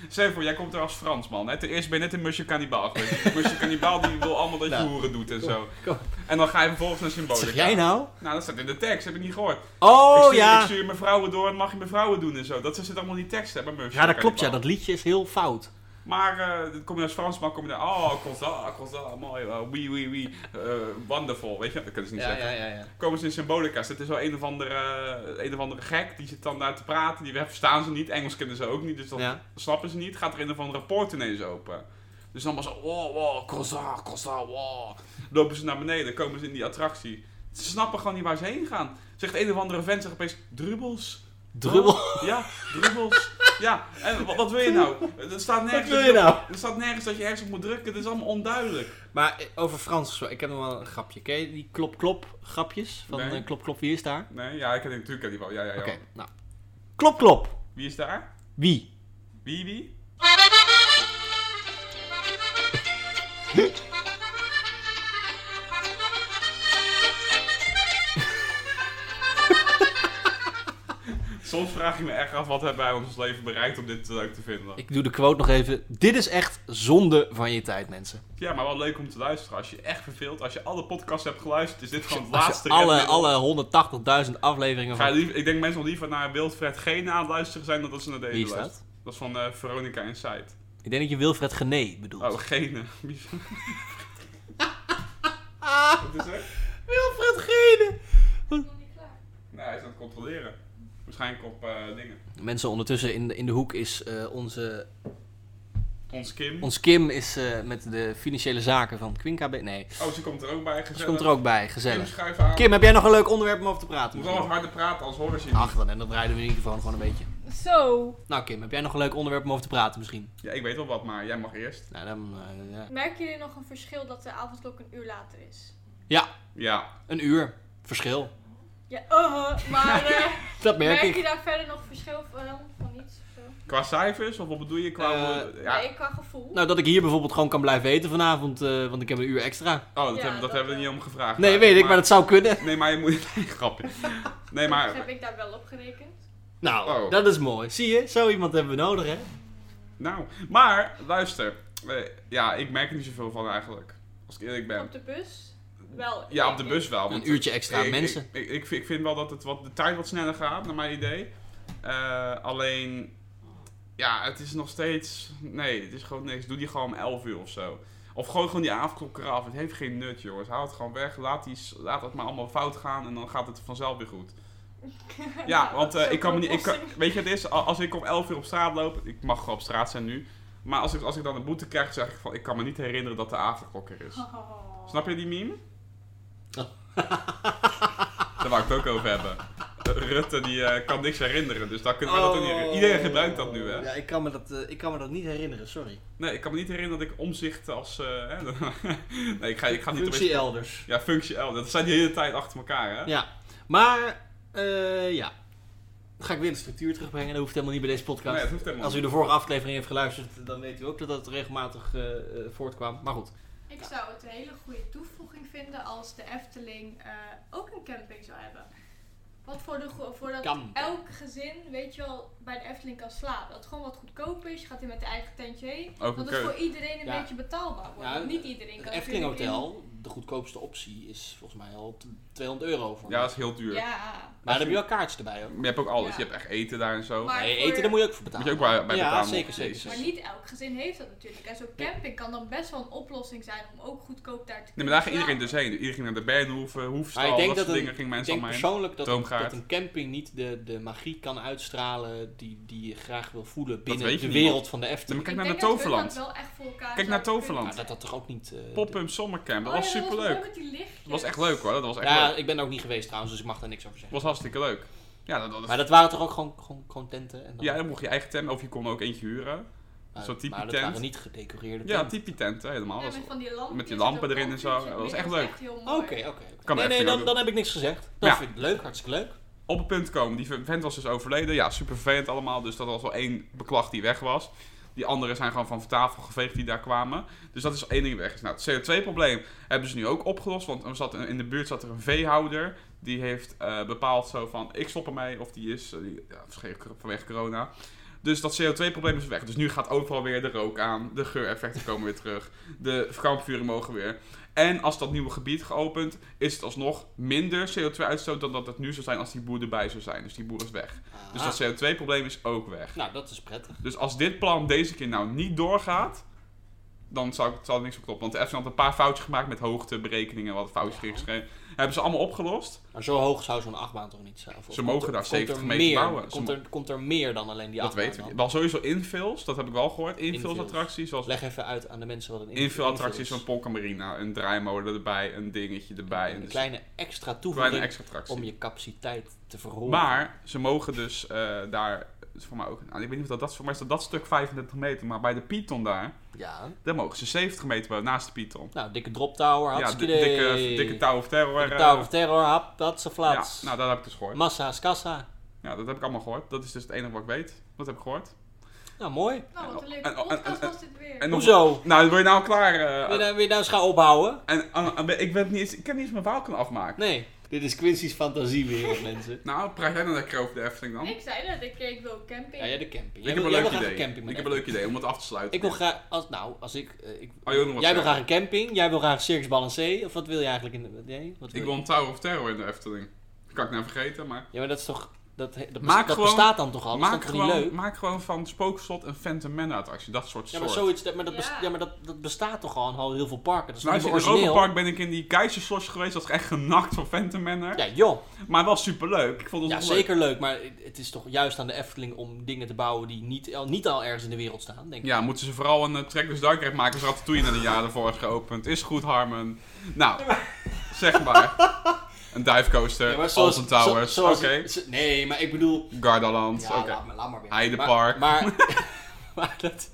Stel je voor, jij komt er als Fransman. Hè? Ten eerste ben je net een musje kannibaal geweest. Die musje kannibaal die wil allemaal dat je
Nou,
hoeren doet en
kom,
zo.
kom.
En dan ga je vervolgens naar
Wat
symbolica.
zeg jij nou?
Nou, dat staat in de tekst, heb ik niet gehoord. ik,
Oh
stuur, ik
ja.
stuur mijn vrouwen door en mag je mijn vrouwen doen en zo. Dat zit allemaal in die tekst, hè, bij Musje
Ja, dat klopt. Ja,
Cannibal.
dat liedje is heel fout.
Maar eh, dan kom je als Fransman, kom je daar, oh, Cosa, Cosa, mooi, eh, oui, oui, oui, eh, wonderful, weet je, dat kunnen ze niet zeggen.
ja, ja.
Komen ze in symbolica's, het is wel een of, andere, eh, een of andere gek, die zit dan daar te praten, die verstaan ze niet, Engels kennen ze ook niet, dus dat
Ja.
snappen ze niet, gaat er een of andere poort ineens open. Dus dan was zo, oh, wow, Cosa, Cosa, wow. Lopen ze naar beneden, komen ze in die attractie. Ze snappen gewoon niet waar ze heen gaan. Zegt een of andere vent, zegt opeens, drubbels.
Drubbel.
Ja, drubbels. Ja, en wat, wat wil je nou? Er staat nergens
wil je nou?
Er staat nergens dat je ergens op moet drukken. Het is allemaal onduidelijk.
Maar eh, over Frans gesproken, ik heb nog wel een grapje. Ken je die klop-klop grapjes? Van
Nee.
eh, klop klop, wie is daar?
Nee, ja, ik ken die natuurlijk ken die wel. Ja, ja, ja.
Oké, nou. Klop klop.
Wie is daar?
Wie?
Wie, wie? Soms vraag ik me echt af, wat hebben wij in ons leven bereikt om dit leuk te vinden?
Ik doe de quote nog even. Dit is echt zonde van je tijd, mensen.
Ja, maar wel leuk om te luisteren. Als je echt verveelt, als je alle podcasts hebt geluisterd, is dit gewoon het
Als je
laatste
alle,
redmiddel.
alle 180.000 afleveringen
Ga je
van...
lief- ik denk mensen wel liever naar Wilfred Gene aan het luisteren zijn dan dat ze naar deze
Wie is
luisteren.
dat?
Dat is van eh, Veronica Inside.
Ik denk dat je Wilfred Gené bedoelt.
Oh, Gene. Wie is- Wat is er?
Wilfred Gene!
nog niet klaar.
Nou, hij is aan het controleren. Waarschijnlijk op eh, dingen.
Mensen, ondertussen in de, in de hoek is eh, onze...
Ons Kim.
Ons Kim is eh, met de financiële zaken van Quinca... be- Nee,
Oh, ze komt er ook bij.
ze
Gezellig.
komt er ook bij.
Kim,
Gezellig.
schuif aan.
Kim, heb jij nog een leuk onderwerp om over te praten?
Moet wel wat harder praten, als horen ze je niet.
Ach, dan, en dan draaien we de microfoon gewoon een beetje.
Zo.
Nou Kim, heb jij nog een leuk onderwerp om over te praten misschien?
Ja, ik weet wel wat, maar jij mag eerst.
Nou, dan... eh, ja.
Merken jullie nog een verschil dat de avondklok een uur later is?
ja,
Ja.
een uur. Verschil.
Ja, eh, maar eh,
Dat merk
merk
ik.
je daar verder nog verschil van? Van niets of zo?
Qua cijfers, of wat bedoel je? Qua...
Eh,
ja.
Nee, qua gevoel.
Nou, dat ik hier bijvoorbeeld gewoon kan blijven eten vanavond, eh, want ik heb een uur extra.
Oh, dat,
Ja,
hebben, dat
dat
hebben we
wel.
niet om gevraagd.
Nee, weet ik, maar dat zou kunnen.
Nee, maar je moet... Nee, grapje. Nee,
Dus
maar...
heb ik daar wel op gerekend.
Nou,
Oh.
dat is mooi. Zie je, zo iemand hebben we nodig, hè?
Nou, maar luister. Eh, ja, ik merk er niet zoveel van eigenlijk. Als ik eerlijk ben.
Op de bus? Wel.
Ja, op de bus wel. want
Een uurtje extra
ik-
mensen.
Ik, ik, ik, vind- ik vind wel dat het wat, de tijd wat sneller gaat, naar mijn idee. Eh, alleen, ja, het is nog steeds... Nee, het is gewoon niks. Doe die gewoon om 11 uur of zo. Of gooi gewoon die avondklok eraf. Het heeft geen nut, jongens. Haal het gewoon weg. Laat, die, s- laat het maar allemaal fout gaan en dan gaat het vanzelf weer goed. Ja, want eh, ik kan me niet... Ik kan, weet je, het is, a- als ik om 11 uur op straat loop... Ik mag gewoon op straat zijn nu. Maar als ik, als ik dan een boete krijg, zeg ik van... Ik kan me niet herinneren dat de avondklok er is. Snap je die meme?
Oh.
Daar wou ik het ook over hebben. Rutte die eh, kan niks herinneren, dus daar kunnen we dat ook niet
Oh.
herinneren. Iedereen gebruikt dat nu, hè?
Ja, ik kan me dat, eh, ik kan me dat niet herinneren, sorry.
Nee, ik kan me niet herinneren dat ik omzicht als... eh, hè, nee, ik ga, ik ga niet...
Functie elders.
Ja, functie L. Dat zijn die hele tijd achter elkaar, hè?
Ja, maar, eh, ja. Dan ga ik weer de structuur terugbrengen, dat hoeft helemaal niet bij deze podcast.
Nee, dat hoeft helemaal
Als u
niet.
de vorige aflevering heeft geluisterd, dan weet u ook dat dat regelmatig eh, eh, voortkwam. Maar goed.
Ik zou het een hele goede toevoeging vinden als de Efteling eh, ook een camping zou hebben. Want voor de, go- voordat
Camping.
elk gezin, weet je wel, bij de Efteling kan slapen. Dat het gewoon wat goedkoop is. Je gaat hier met de eigen tentje heen.
Ook een
dat het
keu-
voor iedereen een
Ja.
beetje betaalbaar wordt.
Ja,
Want Niet iedereen
Het
kan
Efteling
natuurlijk in-
Hotel, de goedkoopste optie, is volgens mij al t- 200 euro voor.
Ja, dat is heel duur.
Ja.
Maar dan heb je wel kaartjes erbij ook.
Maar je hebt ook alles.
Ja.
Je hebt echt eten daar en zo.
Maar-
Nee,
voor-
eten daar moet je ook voor betalen.
Moet je ook bij, bij
Ja,
betalen.
zeker,
Jezus.
zeker,
Maar
zeker.
niet elk gezin heeft dat natuurlijk. En zo'n camping kan dan best wel een oplossing zijn om ook goedkoop daar te
Nee,
kunnen
maar daar ging iedereen
slapen.
dus heen. Iedereen ging naar de Bernhoeven, Hoefstal,
Maar ik denk
dat,
dat
soort
een-
dingen gingen
Ik
mensen
denk
allemaal heen.
persoonlijk dat,
Droomgaard.
dat een camping niet de, de magie kan uitstralen die, die je graag wil voelen binnen
weet
de
niemand.
wereld van de
Nee,
Efteling.
maar kijk
Ik
naar de
denk dat hun dat
Toverland.
wel echt voor elkaar
Kijk naar
zouden
Toverland.
Maar
kunnen.
dat dat toch ook niet... eh, de-
Pop-up Summercamp, dat
Oh
was
ja, dat
superleuk.
mooi met die lichtjes.
Dat was echt leuk hoor, dat was echt
Nou Ja,
leuk.
ik ben er ook niet geweest trouwens, dus ik mag daar niks
Dat
over zeggen.
was hartstikke leuk. Ja, dat, dat,
Maar dat waren toch ook gewoon, gewoon, gewoon tenten? En dan,
ja, dan mocht je eigen tent, of je kon ook eentje huren.
maar,
zo'n type
Maar dat
tent.
waren niet gedecoreerde
Ja,
tenten.
tipi tent helemaal.
Ja,
Dat
met,
is-
van die lampjes
met die
en zo'n
lampen erin en zo.
lampvuurtje.
Dat was
Nee,
echt leuk.
heel mooi.
Oké, oké. oké.
Kan de
Nee, nee,
Efteling ook
dan,
doen.
dan heb ik niks gezegd. Dat
Ja.
vind ik leuk, hartstikke leuk.
Op Dus het punt komen, die vent was dus overleden. Ja, super vervelend allemaal, dus dat was wel één beklag die weg was. Die anderen zijn gewoon van tafel geveegd die daar kwamen. Dus dat is één ding weg. is. Nou, het CO2-probleem hebben ze nu ook opgelost. Want er zat een- in de buurt zat er een veehouder. Die heeft eh, bepaald zo van, ik stop ermee. Of die is, eh, die- ja, waarschijnlijk vanwege corona. Dus dat CO2-probleem is weg. Dus nu gaat overal weer de rook aan. De geureffecten komen weer terug. De kampvuren mogen weer. En als dat nieuwe gebied geopend, is het alsnog minder CO2-uitstoot dan dat het nu zou zijn als die boer erbij zou zijn. Dus die boer is weg. Dus
Ah.
dat CO2-probleem is ook weg.
Nou, dat is prettig.
Dus als dit plan deze keer nou niet doorgaat, dan zal, zal er niks op kloppen. Want de FC had een paar foutjes gemaakt met hoogteberekeningen, wat foutjes
Ja.
geschreven. Hebben ze allemaal opgelost.
Maar zo hoog zou zo'n achtbaan toch niet zijn? Of- of
Ze mogen
komt er-
daar
komt er
70 meter
meer-
bouwen. Ze
Komt er, komt er meer dan alleen die
dat
achtbaan?
weten we niet.
dan?
Wel sowieso infills, dat heb ik wel gehoord. Infills
Infills.
attracties, zoals
Leg even uit aan de mensen wat een infill-
infill attracties
infill
van
is.
Polka Marina. Een draaimolen erbij, een dingetje erbij. En
Een
dus
kleine extra
een kleine
toevoeging
extra attractie.
om je capaciteit te verhogen.
Maar ze mogen dus eh, daar, voor mij ook, nou, ik weet niet of dat, dat is, voor mij is dat, dat stuk 35 meter, maar bij de Python daar,
Ja.
daar mogen ze 70 meter bouwen, naast de Python.
Nou, dikke drop tower,
Ja,
hartstikke
di- dikke, eh,
idee.
dikke Tower of Terror.
Dikke
eh,
tower of terror, hap, dat ze
ja,
flats.
nou dat heb ik dus gehoord.
Massa is kassa.
Ja, dat heb ik allemaal gehoord. Dat is dus het enige wat ik weet. Dat heb ik gehoord.
Nou, mooi.
Nou, wat een leuke
En- en-
podcast
en-
was dit weer.
En nog-
Hoezo?
Nou, wil je nou klaar?
Wil je
eh
nou, wil je nou eens gaan ophouden?
en, en- en- ik, ben niet eens, ik kan niet eens mijn verhaal kunnen afmaken.
Nee. Dit is Quincy's fantasiewereld, mensen.
Nou, praat jij dan lekker over de Efteling dan?
Ik zei net, ik, ik wil camping.
Ja, jij de camping.
ik
Jij
heb
wil-
een
jij wil
leuk
graag
idee.
camping met
ik heb een
Efteling.
leuk idee om het af te sluiten.
Ik wil graag, als, nou, als ik, eh, ik
Oh, je wil nog wat
jij
zeggen?
wil graag een camping, jij wil graag een Circus Balancé, of wat wil je eigenlijk in de, nee, wat
Ik
je?
wil een Tower of Terror in de Efteling. Dat kan ik nou vergeten, maar...
Ja, maar dat is toch, dat, he- dat, bes-
Maak
dat
gewoon-
bestaat dan toch al, dat
Maak
is dan toch niet leuk?
gewoon, maak gewoon van Spookslot een Phantom Manor attractie. Dat soort
Ja, maar
soort.
zoiets, dat, maar, dat, bes-
Ja.
ja, maar dat, dat bestaat toch al in al heel veel parken, dat is
Nou,
nou,
in
niet
het
meer origineel.
Europapark ben ik in die keizerslosje geweest. Dat is echt genakt van Phantom Manor.
Ja, joh.
Maar wel superleuk. Ik vond het
Ja,
wel leuk.
zeker leuk, maar het is toch juist aan de Efteling om dingen te bouwen die niet, al- niet al ergens in de wereld staan, denk ik.
Ja, moeten ze vooral een uh, Trackers Dark maken als Ratatouille in een jaar ervoor is geopend. Is goed, Harmon. Nou, zeg maar. Een divecoaster,
Ja,
ja,
maar zoals-
Towers,
zo- zoals-
oké.
zo- nee, maar ik bedoel...
Gardaland,
Ja,
oké.
laat, maar, laat maar weer.
Heidepark.
Maar, maar, maar, dat,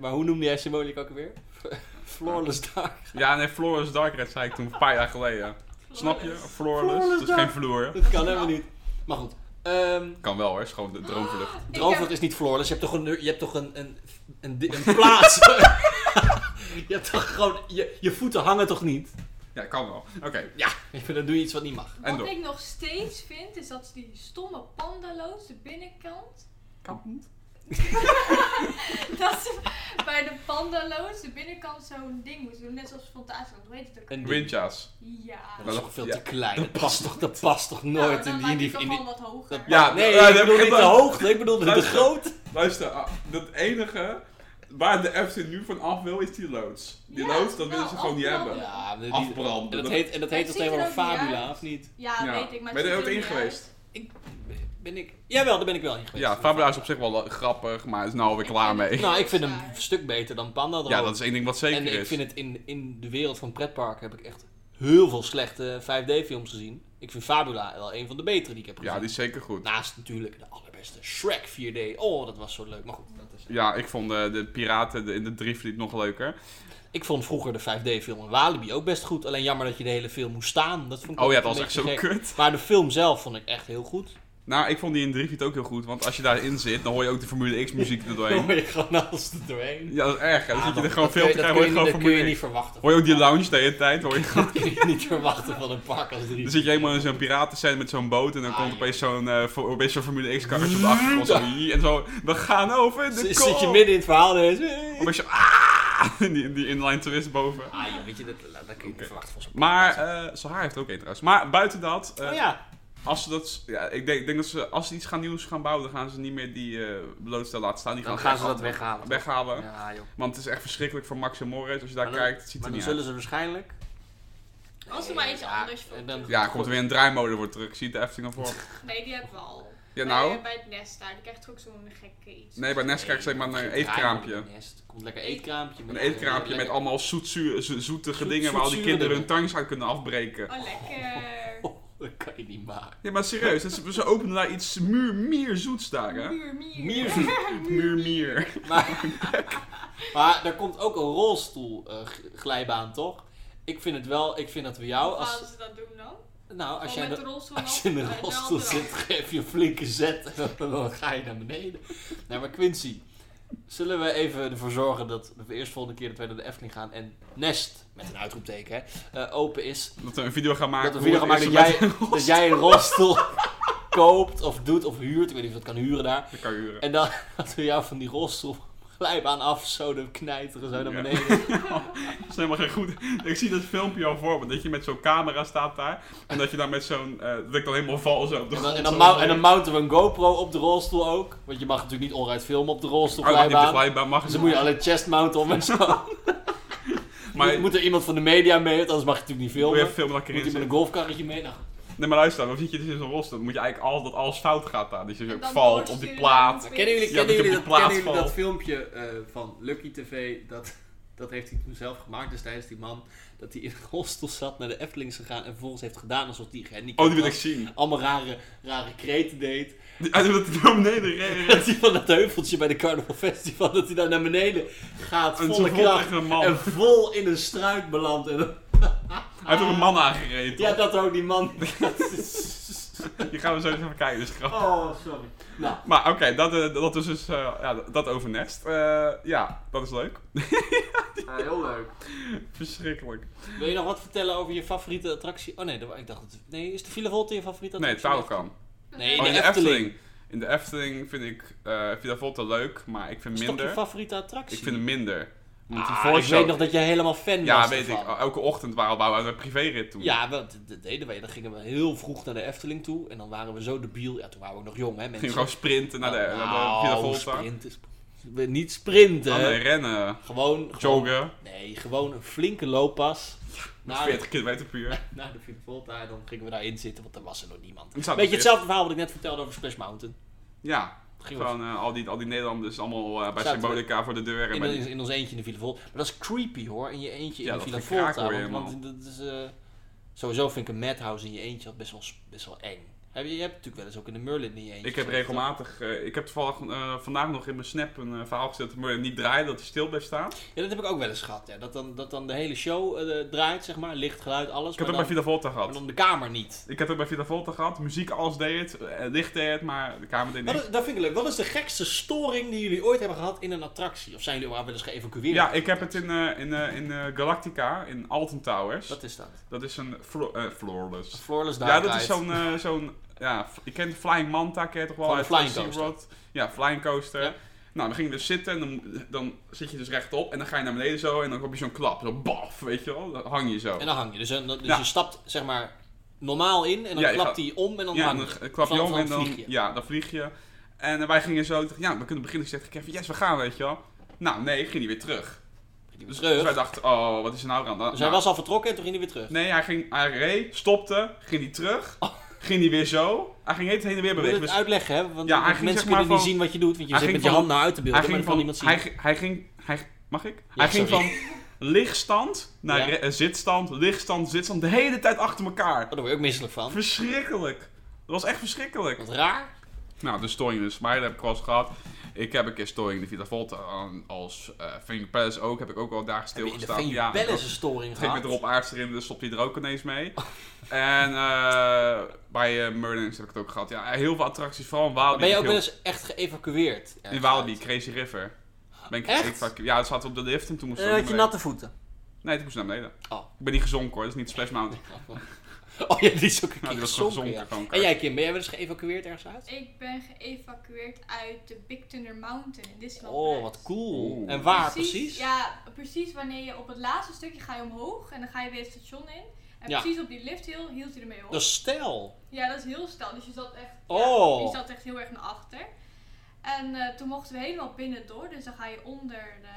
maar hoe noemde jij symboliek ook alweer? Flawless Dark.
Ja, nee, Florence Dark Red zei ik toen, een paar jaar geleden. Snap je? Flawless,
Flawless
dat is
Dark.
geen vloer.
Dat kan helemaal niet. Maar goed. ehm
Kan wel hoor, is gewoon de droomvlucht.
Droomvlucht
Ik
is niet flawless. Je hebt toch een, je hebt toch een, een, een, di- een plaats. je hebt toch gewoon... Je, je voeten hangen toch niet?
Ja, kan wel. Oké,
Ja. Dan doe je iets wat niet mag.
en
heb-
door.
Wat ik nog steeds vind, is dat ze die stomme pandaloos, de binnenkant... Dat ze bij de pandaloos, de binnenkant, zo'n ding moeten doen. Net zoals Fantasieland, hoe heet het ook?
Een
Windjas.
Ja.
Dat
Maar
is
dat-
toch veel
ja.
te klein. Dat past toch, dat past toch
Nou,
nooit
dan
in die...
lijkt
In die,
het toch
in die
wel wat hoger.
dat-
Ja,
nee,
eh, dat
ik
heb
bedoel
ik
niet de
wel-
hoogte. Ik bedoel de
Luister.
grootte.
Luister, ah, dat enige waar de Efteling nu van af wil, is die loods. Die
Ja,
loods, dat willen ze
nou,
gewoon niet
afbranden.
hebben.
Ja, die-
Afbranden.
En dat heet, en dat
Het
heet als
ziet er
tegenwoordig
ook niet
Fabula,
uit.
of niet?
Ja,
Ja.
weet ik. Maar
Ben je
het
er ooit
ziet
in
niet uit.
geweest?
Ben ik... Jawel, daar ben ik wel in geweest.
Ja, Fabula is op zich wel le- grappig, maar is nou weer klaar mee.
Nou, ik vind hem een stuk beter dan Panda
Ja, dat is één ding wat zeker
En
is.
ik vind het in, in de wereld van pretparken heb ik echt heel veel slechte 5D-films gezien. Ik vind Fabula wel een van de betere die ik heb gezien.
Ja, die is zeker goed.
Naast natuurlijk de allerbeste Shrek 4D. Oh, dat was zo leuk. Maar goed, dat is...
Ja, ik vond eh, de piraten de- in de driftlied nog leuker.
Ik vond vroeger de 5D-film in Walibi ook best goed. Alleen jammer dat je de hele film moest staan. Dat vond ik
Oh ja,
een
dat was echt
beetje
zo
gek.
kut.
Maar de film zelf vond ik echt heel goed.
Nou, ik vond die in driftlied ook heel goed, want als je daarin zit, dan hoor je ook de Formule X muziek er
Dan
doorheen.
hoor je gewoon alles er doorheen.
Ja, dat is erg. hè. Dan
Ah,
zit je
dat-
er gewoon
dat
veel
kun
te
je-
krijgen,
dat kun
hoor
je
je
niet-
gewoon
Dat kun je
Formule
niet
X.
verwachten.
Hoor je ook die lounge de hele tijd? Hoor je gewoon-
Dat kun je niet verwachten van een park als die.
Dan zit je helemaal in zo'n piratencent met zo'n boot en dan
Ah,
komt
ja.
opeens zo'n eh, voor- opeens zo'n Formule X-karretje op de achtergrond. Zo, hier, en zo, we gaan over de
Zit
kool.
zit je midden in het verhaal en ineens, eh.
Opeens zo, ah, die, die inline twist boven.
Ah ja, weet je, dat, dat kun je niet verwachten van zo'n
Maar,
park.
eh Sahar heeft ook één trouwens. Maar buiten dat, eh,
oh ja,
als ze dat, ja, ik denk, ik denk dat ze, als ze iets gaan nieuws gaan bouwen, dan gaan ze niet meer die eh loodstel laten staan. Die
dan
gaan,
gaan ze
echt
dat weghalen. toch?
weghalen.
Ja, joh.
Want het is echt verschrikkelijk voor Max en Morris. Als je daar
Maar dan-
kijkt, het ziet
Maar
er
dan
niet
zullen
uit.
ze waarschijnlijk...
Als er
Nee,
maar iets
ja,
anders voor
en dan-
terug-
Ja, komt er weer een draaimolen wordt terug. Ik zie de Efteling al voor.
Nee, die hebben we al.
Ja,
Bij,
nou.
bij het nest daar. Die krijgt toch ook zo'n gekke iets.
Nee, bij Nes krijg je alleen maar een
Geen
eetkraampje.
draaimolen, nest. Komt lekker eetkraampje.
Een eetkraampje met allemaal zoetzuur, zo- zoetige
Zoet-
dingen waar al die
zoetzure
kinderen hun
dingen.
tangjes uit kunnen afbreken.
Oh, lekker.
Oh, dat kan je niet maken.
Ja, maar serieus, dat ze, ze openen daar iets muur, mier zoets daar, hè?
Muur, mier.
Mier.
Muur, mier.
Maar, maar er komt ook een rolstoel eh, g- glijbaan, toch? Ik vind het wel, ik vind dat we jou
Hoe
Nou, als...
gaan ze dat doen dan?
Nou, als
Gewoon
jij,
met
de-
de rolstoel
als je in
op,
de
eh,
rolstoel
de andere
zit, geef je een flinke zet en dan, dan ga je naar beneden. Nou, maar Quincy, Zullen we even ervoor zorgen dat we eerst volgende keer dat wij naar de Efteling gaan en Nest, met een uitroepteken, hè, eh, open is.
Dat we een video gaan maken.
Dat we video gaan maken dat jij, dat jij een rolstoel koopt of doet of huurt. Ik weet niet of dat kan huren daar.
Dat kan huren.
En dan dat we jou van die rolstoel glijbaan af, zo de knijteren, zo naar
Ja.
beneden.
Dat is helemaal geen goed. Ik zie dat filmpje al voor me. Dat je met zo'n camera staat daar. En dat je dan met zo'n... eh, dat ik dan helemaal val zo op de
En dan,
grond,
en, dan
zo
mou-
zo.
en dan mounten we een GoPro op de rolstoel ook. Want je mag natuurlijk niet onruit filmen op de rolstoel
Oh, dat niet op de
glijbaan.
glijbaan mag
Dus dan moet je alleen chest mounten om en zo.
Maar
moet, moet er iemand van de media mee, want anders mag je natuurlijk niet
moet
filmen.
je film dat ik
Moet
erin
hij met een
zit.
golfkarretje mee? Nou,
Nee, maar luister. Dan zit je dus in zo'n rolstoel. Dan moet je eigenlijk al dat alles fout gaat daar. Dus je ook
dan
valt op
doorsturen
die plaat.
naar-
Kennen jullie,
Ja,
kennen
dat je op
jullie,
de
dat,
plaat
kennen jullie dat
valt.
filmpje eh, van Lucky TV? Dat, dat heeft hij toen zelf gemaakt destijds, die man. Dat hij in een rolstoel zat, naar de Efteling is gegaan en vervolgens heeft gedaan alsof hij gehandicapt
Oh, die wil ik
was.
zien.
Allemaal rare, rare kreten deed.
Die- Hij doet het naar beneden. rennen.
Dat hij van dat heuveltje bij de Carnival Festival, dat hij daar naar beneden gaat,
En zo
volle
valt
kracht.
echt een man.
En vol in een struik belandt. En,
Hij heeft ook een man aangereden.
ja, dat ook, die man.
Die gaan we zo eens even kijken. Dus grappig.
oh, sorry. Nou,
Maar oké, dat, eh, dat is dus... eh, ja, dat over Nest. Eh, ja, dat is leuk.
eh, heel leuk.
Verschrikkelijk.
Wil je nog wat vertellen over je favoriete attractie? Oh nee, dat- ik dacht dat... Nee, is de Villa Volta je favoriete
Nee,
attractie?
touw kan.
Nee, in
Oh,
de
in de
Efteling.
Efteling. In de Efteling vind ik eh Villa Volta leuk, maar ik vind
Is toch je
minder.
favoriete attractie?
Ik vind hem minder. Omdat die
Ah, ik
voorshow-
weet nog dat jij helemaal fan was
Ja, weet ik. Oh,
ervan.
Elke ochtend waren we aan een privérit toen.
Ja, wel, dat dat deden wij. Dan gingen we heel vroeg naar de Efteling toe. En dan waren we zo debiel. Ja, toen waren we ook nog jong, hè, mensen.
Ging gewoon sprinten naar de, naar de
Nou,
Villa Volta.
sprinten. sp- we- Niet sprinten.
Ah, nee, rennen,
Gewoon, gewoon...
joggen,
Nee, gewoon een flinke looppas. Naar,
40 kilometer per uur.
naar de Villa Volta. En dan gingen we daarin zitten, want er was er nog niemand.
Het staat
Beetje
nog weer.
hetzelfde verhaal wat ik net vertelde over Splash Mountain.
Ja,
Gingen we
gewoon eh, al, die, al die Nederlanders allemaal eh, bij
Zaten we-
Symbolica voor de deur. En
In,
bij die-
in, in ons eentje in de Villa Volta. Maar dat is creepy hoor, in je eentje
Ja,
in de
dat
Villa
gekraak
Volta.
hoor je
Want, want dat is, eh, sowieso vind ik een madhouse in je eentje best wel, best wel eng. Heb je, je hebt natuurlijk wel eens ook in de Merlin in je eentje.
Ik heb
gezeten.
regelmatig, eh, ik heb toevallig eh, vandaag nog in mijn snap een eh, verhaal gezet, maar niet draaien dat hij stil blijft staan.
Ja, dat heb ik ook wel eens gehad. Ja. Dat, dan, dat dan de hele show eh, draait, zeg maar. Licht, geluid, alles.
Ik heb het
maar,
bij
Oh, dan,
Villa Volta gehad.
maar dan de kamer niet.
Ik heb het bij Villa Volta gehad. Muziek, alles deed het. eh, Licht deed het, maar de kamer deed
Wat
niks.
is- Oh, dat vind ik leuk. Wat is de gekste storing die jullie ooit hebben gehad in een attractie? Of zijn jullie wel wel eens geëvacueerd?
Ja, ik heb het in, eh, in, eh, in eh, Galactica, in Alton Towers.
Wat is dat?
Dat is een flo eh, floorless.
Floorless
Ja, dat is zo'n... eh, zo'n ja, f- je kent Flying Manta, ken je toch wel?
Van de
uit
Flying
SeaWorld? Ja, Flying Coaster.
Ja.
Nou, dan ging je dus zitten en dan, dan zit je dus rechtop. En dan ga je naar beneden zo en dan heb je zo'n klap. Zo baf, weet je wel? Dan hang je zo.
En dan hang je. Dus, eh, dat- dus
Oh. Ja.
je stapt, zeg maar, normaal in. En dan
Ja, je
klapt
gaat-
hij om en dan
ja, en
hang
dan
je.
eh, klap je
Van-
om
van
en dan,
vlieg je.
ja, dan vlieg je. En eh, wij gingen zo, ik dacht, ja, we kunnen beginnen. Ik zeg tegen Kevin, yes, we gaan, weet je wel. Nou, nee, ging hij weer terug.
Ging hij weer
Dus,
terug.
dus wij dachten, oh, wat is er nou aan? Nou,
Dus hij was al vertrokken en toen ging hij weer terug.
Nee, hij, ging, hij reed, stopte, ging hij terug, ging hij weer zo. Hij ging het heen en weer
Je Oh. moet
bewegen.
het
Dus
uitleggen, hè? Want
Ja, hij
want
ging,
mensen
zeg maar,
kunnen niet
van-
zien wat je doet, want je
hij
zit
ging
met je
van-
hand naar uit te beelden,
hij
maar
ging
dat
van,
kan niemand zien.
hij, ging- hij ging, hij, mag ik? hij ging
sorry.
van lichtstand naar
Ja.
re- eh, zitstand, lichtstand, zitstand, de hele tijd achter elkaar.
Oh, daar word je ook misselijk van.
Verschrikkelijk. Dat was echt verschrikkelijk.
Wat raar.
Nou, de storing dus. Maar dat heb ik al eens gehad. Ik heb een keer storing in de Vita Volta aan, als eh Venue Palace ook. Heb ik ook al daar
Heb je in de
stilgestaan.
Venue
Ja,
Palace een storing
Ging
gehad? Oh.
met Rob Aarts erin, dus stopt hij er ook ineens mee. en eh, bij eh Merlins heb ik het ook gehad. Ja, heel veel attracties, vooral in Walibi.
Ben je
heb
ook
ik
wel
heel-
eens echt geëvacueerd?
In Walibi, Crazy River. Ben ik
Echt?
ik vaak- ja, dat zat op de lift en toen moest ik
Dan
naar
Eh,
beneden.
had je natte voeten.
Nee, toen moest ik naar beneden.
Oh.
Ik ben niet gezonken hoor, dat is niet Splash Mountain.
Oh ja, die is ook een
Nou,
keer
die was gewoon gezonken.
gezonken, ja.
gewoon
En jij Kim, ben jij wel eens geëvacueerd ergens uit?
Ik ben geëvacueerd uit de Big Thunder Mountain in Disneyland.
Oh,
Parijs.
wat cool.
Oeh.
En waar precies?
Ja, precies wanneer je op het laatste stukje ga je omhoog en dan ga je weer het station in. En
Ja.
precies op die lift hield, hield hij ermee op.
Dat is stijl.
Ja, dat is heel stil. Dus je zat echt,
Oh.
ja, je zat echt heel erg naar achter. En eh, toen mochten we helemaal binnen door. Dus dan ga je onder de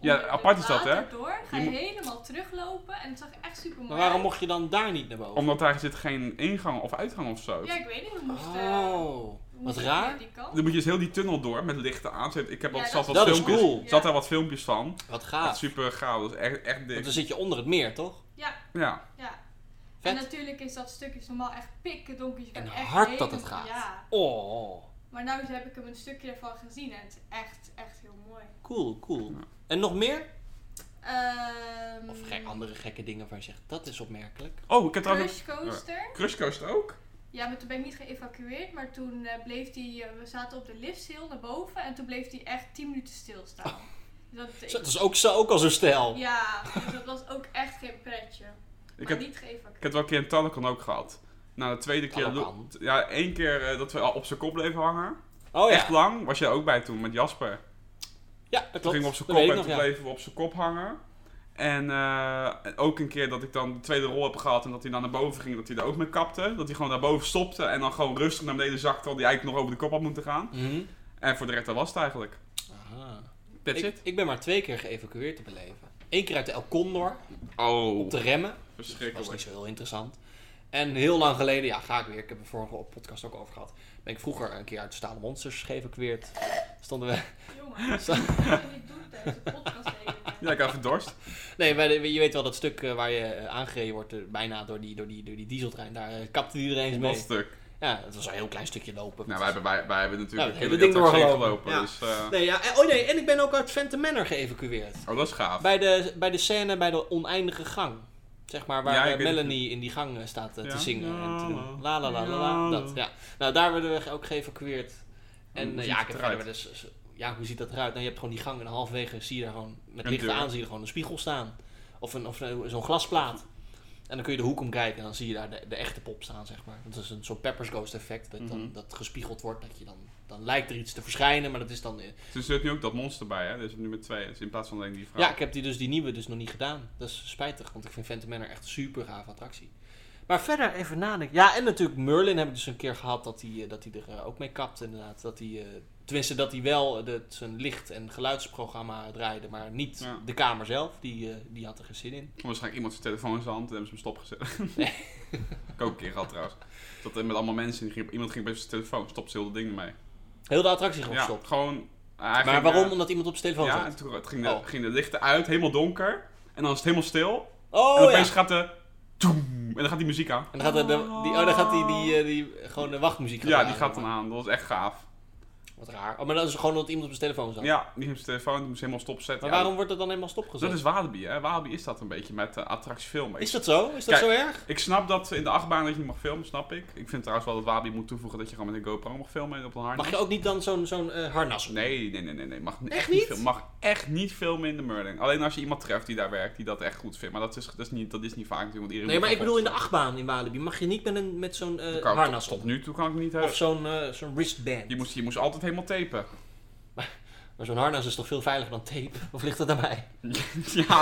Ja,
onder de
apart is dat, hè?
water door. Ga
Je
je,
moet-
helemaal teruglopen. En het zag echt super mooi
Maar waarom mocht je dan daar niet naar boven?
Omdat daar zit geen ingang of uitgang of zo.
Ja, ik weet niet. We moesten...
Oh,
we
wat
moesten
raar.
via die kant.
Dan moet je dus heel die tunnel door met lichten aan. Ik heb al,
Ja,
zat
dat-
wat
Dat is
filmpjes.
cool. Ah.
Ja.
Zat daar wat filmpjes van.
Wat
Echt
gaaf.
super gaaf. Dat is echt, echt
Want dan
dik.
zit je onder het meer, toch?
Ja,
Ja.
ja.
Vet.
En natuurlijk is dat stukje is normaal echt pikken donker. Dus je
En
kan echt
hard dat het
helemaal-
gaat.
Ja.
Oh,
Maar nu heb ik hem een stukje ervan gezien. En het is echt, echt heel mooi.
cool, cool. En nog meer?
Ehm,
Of gek, andere gekke dingen waar je zegt, dat is opmerkelijk.
Oh, ik heb trouwens...
Crush Coaster.
Crush Coaster ook?
Ja, maar toen ben ik niet geëvacueerd, maar toen eh, bleef die, eh, we zaten op de lifthill naar boven en toen bleef die echt 10 minuten stilstaan. Dus Dat,
Oh. Zo, Dat is ook, zo, ook al zo'n stijl.
Ja, dus dat was ook echt geen pretje.
Ik
maar
heb, ik
niet geëvacueerd.
heb wel een keer een Talokan ook gehad. Nou, de tweede keer...
Talokan?
Ja, één keer eh, dat we al op zijn kop bleven hangen.
Oh ja,
Echt lang. Was jij ook bij toen, met Jasper.
ja dat klopt.
Toen gingen we op zijn kop
Dat weet
en
ik
toen
nog, ja.
bleven we op zijn kop hangen. En eh, ook een keer dat ik dan de tweede rol heb gehad en dat hij dan naar boven ging, dat hij er ook mee kapte. Dat hij gewoon naar boven stopte en dan gewoon rustig naar beneden zakte, terwijl hij eigenlijk nog over de kop had moeten gaan.
Mhm.
En voor de rest, dat was het eigenlijk.
Aha.
That's
Ik,
it.
ik ben maar twee keer geëvacueerd op mijn leven. Eén keer uit de El Condor,
Oh,
op de remmen. Dat was
verschrikkelijk.
niet zo heel interessant. En heel lang geleden, ja, ga ik weer. Ik heb het vorige podcast ook over gehad. Ben ik vroeger een keer uit de Stalen Monsters geëvacueerd. Stonden we.
Jongens,
Zo.
dat moet je niet doen tijdens de podcast de hele tijd.
Ja, ik had even dorst.
Nee, maar de- je weet wel dat stuk eh, waar je eh, aangereden wordt, eh, bijna door die, door die, door die dieseltrein. Daar eh, kapte iedereen eens
Dat
mee.
stuk.
Ja, het was een heel klein stukje lopen.
Nou, wij hebben, wij, wij hebben natuurlijk
Ja,
heel
we hebben het Nou, ding
attractie
doorgelopen. Ja.
Dus, eh,
Nee, ja, en- oh nee, en ik ben ook uit Phantom Manor geëvacueerd.
Oh, dat is gaaf.
Bij de, bij de scène bij de oneindige gang. Zeg maar, waar
Ja, ik
eh,
weet het.
Melanie in die gang eh, staat eh,
Ja.
te zingen en te doen. La la la la
Ja.
la. Dat, ja. Nou, daar werden we ge- ook geëvacueerd. En
Hoe
eh,
ziet
ja, ik
het
heb
eruit?
verder wel eens- Ja, hoe ziet dat eruit? Nou, je hebt gewoon die gang en halverwege zie je daar gewoon... Met
Een
licht
deur.
aan zie je gewoon een spiegel staan. Of, een, of een- zo'n glasplaat. En dan kun je de hoek om kijken en dan zie je daar de, de echte pop staan, zeg maar. Dat is een soort Peppers Ghost effect. Dat,
Mhm.
dan, dat gespiegeld wordt, dat je dan... Dan lijkt er iets te verschijnen, maar dat is dan... eh,
Dus er zit nu ook dat monster bij, hè? Er zit nu met twee, dus in plaats van alleen die vrouw.
ja, ik heb die, dus die nieuwe dus nog niet gedaan. Dat is spijtig, want ik vind Phantom Manor echt een super gave attractie. Maar verder even nadenken. Ja, en natuurlijk Merlin heb ik dus een keer gehad dat hij eh, dat hij er eh, ook mee kapt inderdaad. Dat hij, eh, tenminste dat hij wel eh, de, zijn licht- en geluidsprogramma draaide, maar niet
Ja.
de kamer zelf. Die, eh, die had er geen zin in.
Waarschijnlijk iemand zijn telefoon in zijn hand en hebben ze hem stopgezet. ik ook een keer gehad trouwens. Dat eh, met allemaal mensen, die ging, iemand ging bij zijn telefoon, stopte ze heel dat ding ermee.
Heel de attractie gewoon
Ja,
gestopt.
gewoon... hij
Maar
ging,
waarom?
eh,
Omdat iemand op zijn telefoon
ja,
zat.
en toen het ging, de,
Oh.
ging de lichten uit, helemaal donker. En dan is het helemaal stil. en
Oh ja!
opeens gaat de... toem, en dan gaat die muziek aan.
En dan gaat, de, de- die, oh, dan gaat die, die, eh, die, gewoon de wachtmuziek
Ja, die
aan,
gaat
zeg
dan
maar.
aan. Dat was echt gaaf.
Wat raar. Oh, maar dat is gewoon omdat iemand op zijn telefoon zat.
Ja, die heeft zijn telefoon, die moest helemaal stopzetten.
Maar
Ja,
waarom wordt dat dan helemaal stopgezet?
Dat is Walibi, hè. Walibi is dat een beetje met eh, attractiefilmen.
Is dat zo? Is dat
Kijk,
zo erg?
Ik snap dat in de achtbaan dat je niet mag filmen, snap ik. Ik vind trouwens wel dat Walibi moet toevoegen dat je gewoon met een GoPro mag filmen en op een harnas.
Mag je ook niet dan zo'n zo'n eh, harnas op?
Nee, nee, nee, nee, nee. Mag echt,
Echt
niet?
niet?
filmen. Mag echt niet filmen in de Merlin. Alleen als je iemand treft die daar werkt, die dat echt goed vindt. Maar dat is, dat is, niet, dat is niet vaak natuurlijk. Want iedereen
Nee,
moet
maar ik bedoel in de
gewoon
achtbaan in Walibi mag je niet met, een, met zo'n eh,
Dat kan ik
harnas
tot
op.
nu toe kan ik niet
Of
hebben.
zo'n eh, zo'n wristband.
Je moest, je moest altijd helemaal tapen.
Maar zo'n harnas is toch veel veiliger dan tape? Of ligt dat aan mij?
ja,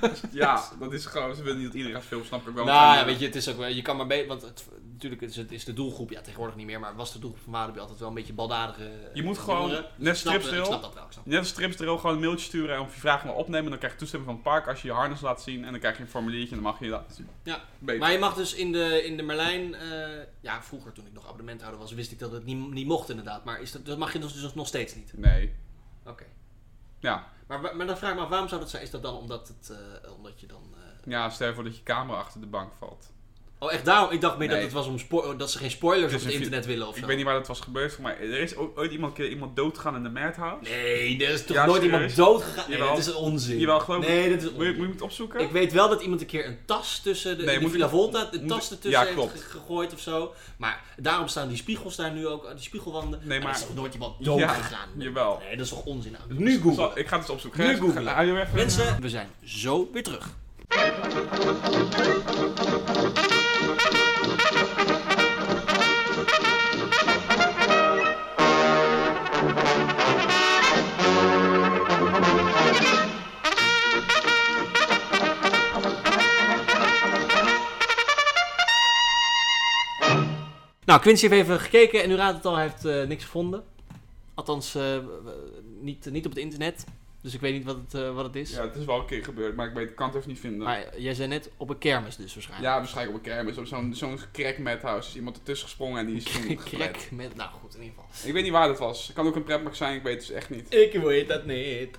dat, ja, dat is gewoon... Ze willen niet dat iedereen gaat filmen, snap ik wel.
nou, ja, weet je, het is ook wel... Je kan maar beter... Want het, natuurlijk is, het, is de doelgroep... Ja, tegenwoordig niet meer. Maar was de doelgroep van Walibi altijd wel een beetje baldadige...
Je moet
eh,
gewoon
jongeren?
net
Ik snap, eh,
stripstil.
Ik snap dat wel. Ik snap.
Net als strips er ook gewoon een mailtje sturen en of je vragen maar opnemen. En dan krijg je toestemming van het park als je je harnas laat zien. En dan krijg je een formuliertje en dan mag je dat zien.
Ja,
Beter.
Maar je mag dus in de, in de Merlijn... eh, ja, vroeger toen ik nog abonnementhouder was... wist ik dat het niet, niet mocht inderdaad. Maar is dat, dat mag je dus, dus nog steeds niet.
Nee.
Oké.
Ja.
Maar, wa- maar dan vraag ik me af, waarom zou dat zijn? Is dat dan omdat, het, eh, omdat je dan... eh,
ja, stel je voor dat je camera achter de bank valt.
Oh, echt daarom? Ik dacht meer
Nee.
dat het was om spo- dat ze geen
Het is
spoilers op het
een fi-
internet willen of
Ik
zo.
weet niet waar dat was gebeurd, maar er is ook ooit iemand, een keer iemand doodgaan in de madhouse.
Nee, er is toch
Ja,
nooit
serieus?
iemand doodgegaan? Nee,
Jawel.
dat is onzin.
Jawel, geloof ik.
Nee, dat is
Moet je,
onzin.
moet je het opzoeken?
Ik weet wel dat iemand een keer een tas tussen de,
Nee,
in de
moet
Villa
ik-
Volta, de
moet
tas
ik-
ertussen
ja, klopt.
heeft ge- gegooid of zo. Maar daarom staan die spiegels daar nu ook, die spiegelwanden.
Nee,
Er
maar-
is toch nooit iemand
Ja,
doodgegaan? Nee.
jawel.
Nee, dat is toch onzin? Nou,
Dus-
nu googlen.
Zal- Ik ga het eens opzoeken.
Nu
Ga-
googlen.
ga- hou je even-
Mensen, we zijn zo weer terug. Nou, Nou, Quincy heeft even gekeken en u raadt het al, hij heeft eh, niks gevonden. Althans, eh, w- w- niet, niet op het internet. Dus ik weet niet wat het, eh, wat het is.
Ja, het is wel een keer gebeurd, maar ik weet, ik kan het even niet vinden.
Maar eh, jij zei net op een kermis dus waarschijnlijk.
Ja, waarschijnlijk op een kermis. op Zo'n zo'n crack madhouse. Is iemand ertussen gesprongen en die is toen gered.
Krek met... Nou goed, in ieder geval.
Ik weet niet waar dat was. Het kan ook een pretpark zijn, ik weet het dus echt niet.
Ik weet dat niet.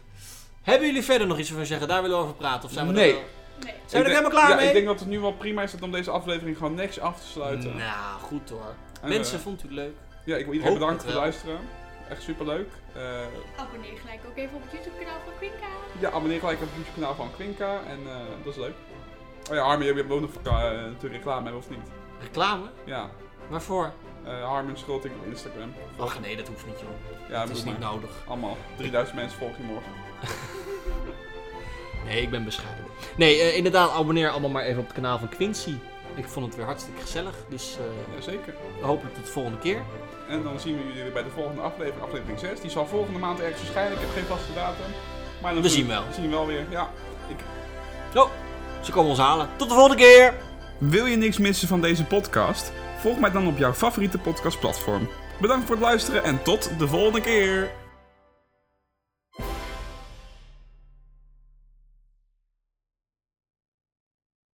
Hebben jullie verder nog iets over zeggen? Daar willen we over praten? Of zijn we er
Nee.
wel-
Nee.
Zijn we
Ik
er
denk-
helemaal klaar
ja,
mee?
ik denk dat het nu wel prima is dat om deze aflevering gewoon niks af te sluiten.
Nou, goed hoor.
En,
Mensen,
eh,
vond u het leuk?
ja, ik wil
hoop
iedereen bedanken
het
voor het
wel.
luisteren. Echt superleuk. Eh
Abonneer gelijk ook even op het YouTube kanaal van Quinka.
ja, abonneer gelijk op het YouTube kanaal van Quinka. En eh, dat is leuk. Oh ja, Armin, je hebt ook nog eh, natuurlijk reclame, hebben of niet?
Reclame?
Ja.
Waarvoor?
Eh Harmen Schulting op Instagram.
Ach nee, dat hoeft niet joh.
Ja,
dat
bedoel
is niet
maar.
nodig.
Allemaal. 3000 mensen volgen je morgen.
Nee, ik ben bescheiden. Nee, eh, inderdaad, abonneer allemaal maar even op het kanaal van Quincy. Ik vond het weer hartstikke gezellig, dus eh,
Jazeker.
hopelijk tot de volgende keer.
En dan zien we jullie weer bij de volgende aflevering, aflevering 6. Die zal volgende maand ergens verschijnen. Ik heb geen vaste datum. Maar dan
We zien wel.
We zien wel weer, ja. Ik...
Zo, ze komen ons halen. Tot de volgende keer!
Wil je niks missen van deze podcast? Volg mij dan op jouw favoriete podcastplatform. Bedankt voor het luisteren en tot de volgende keer!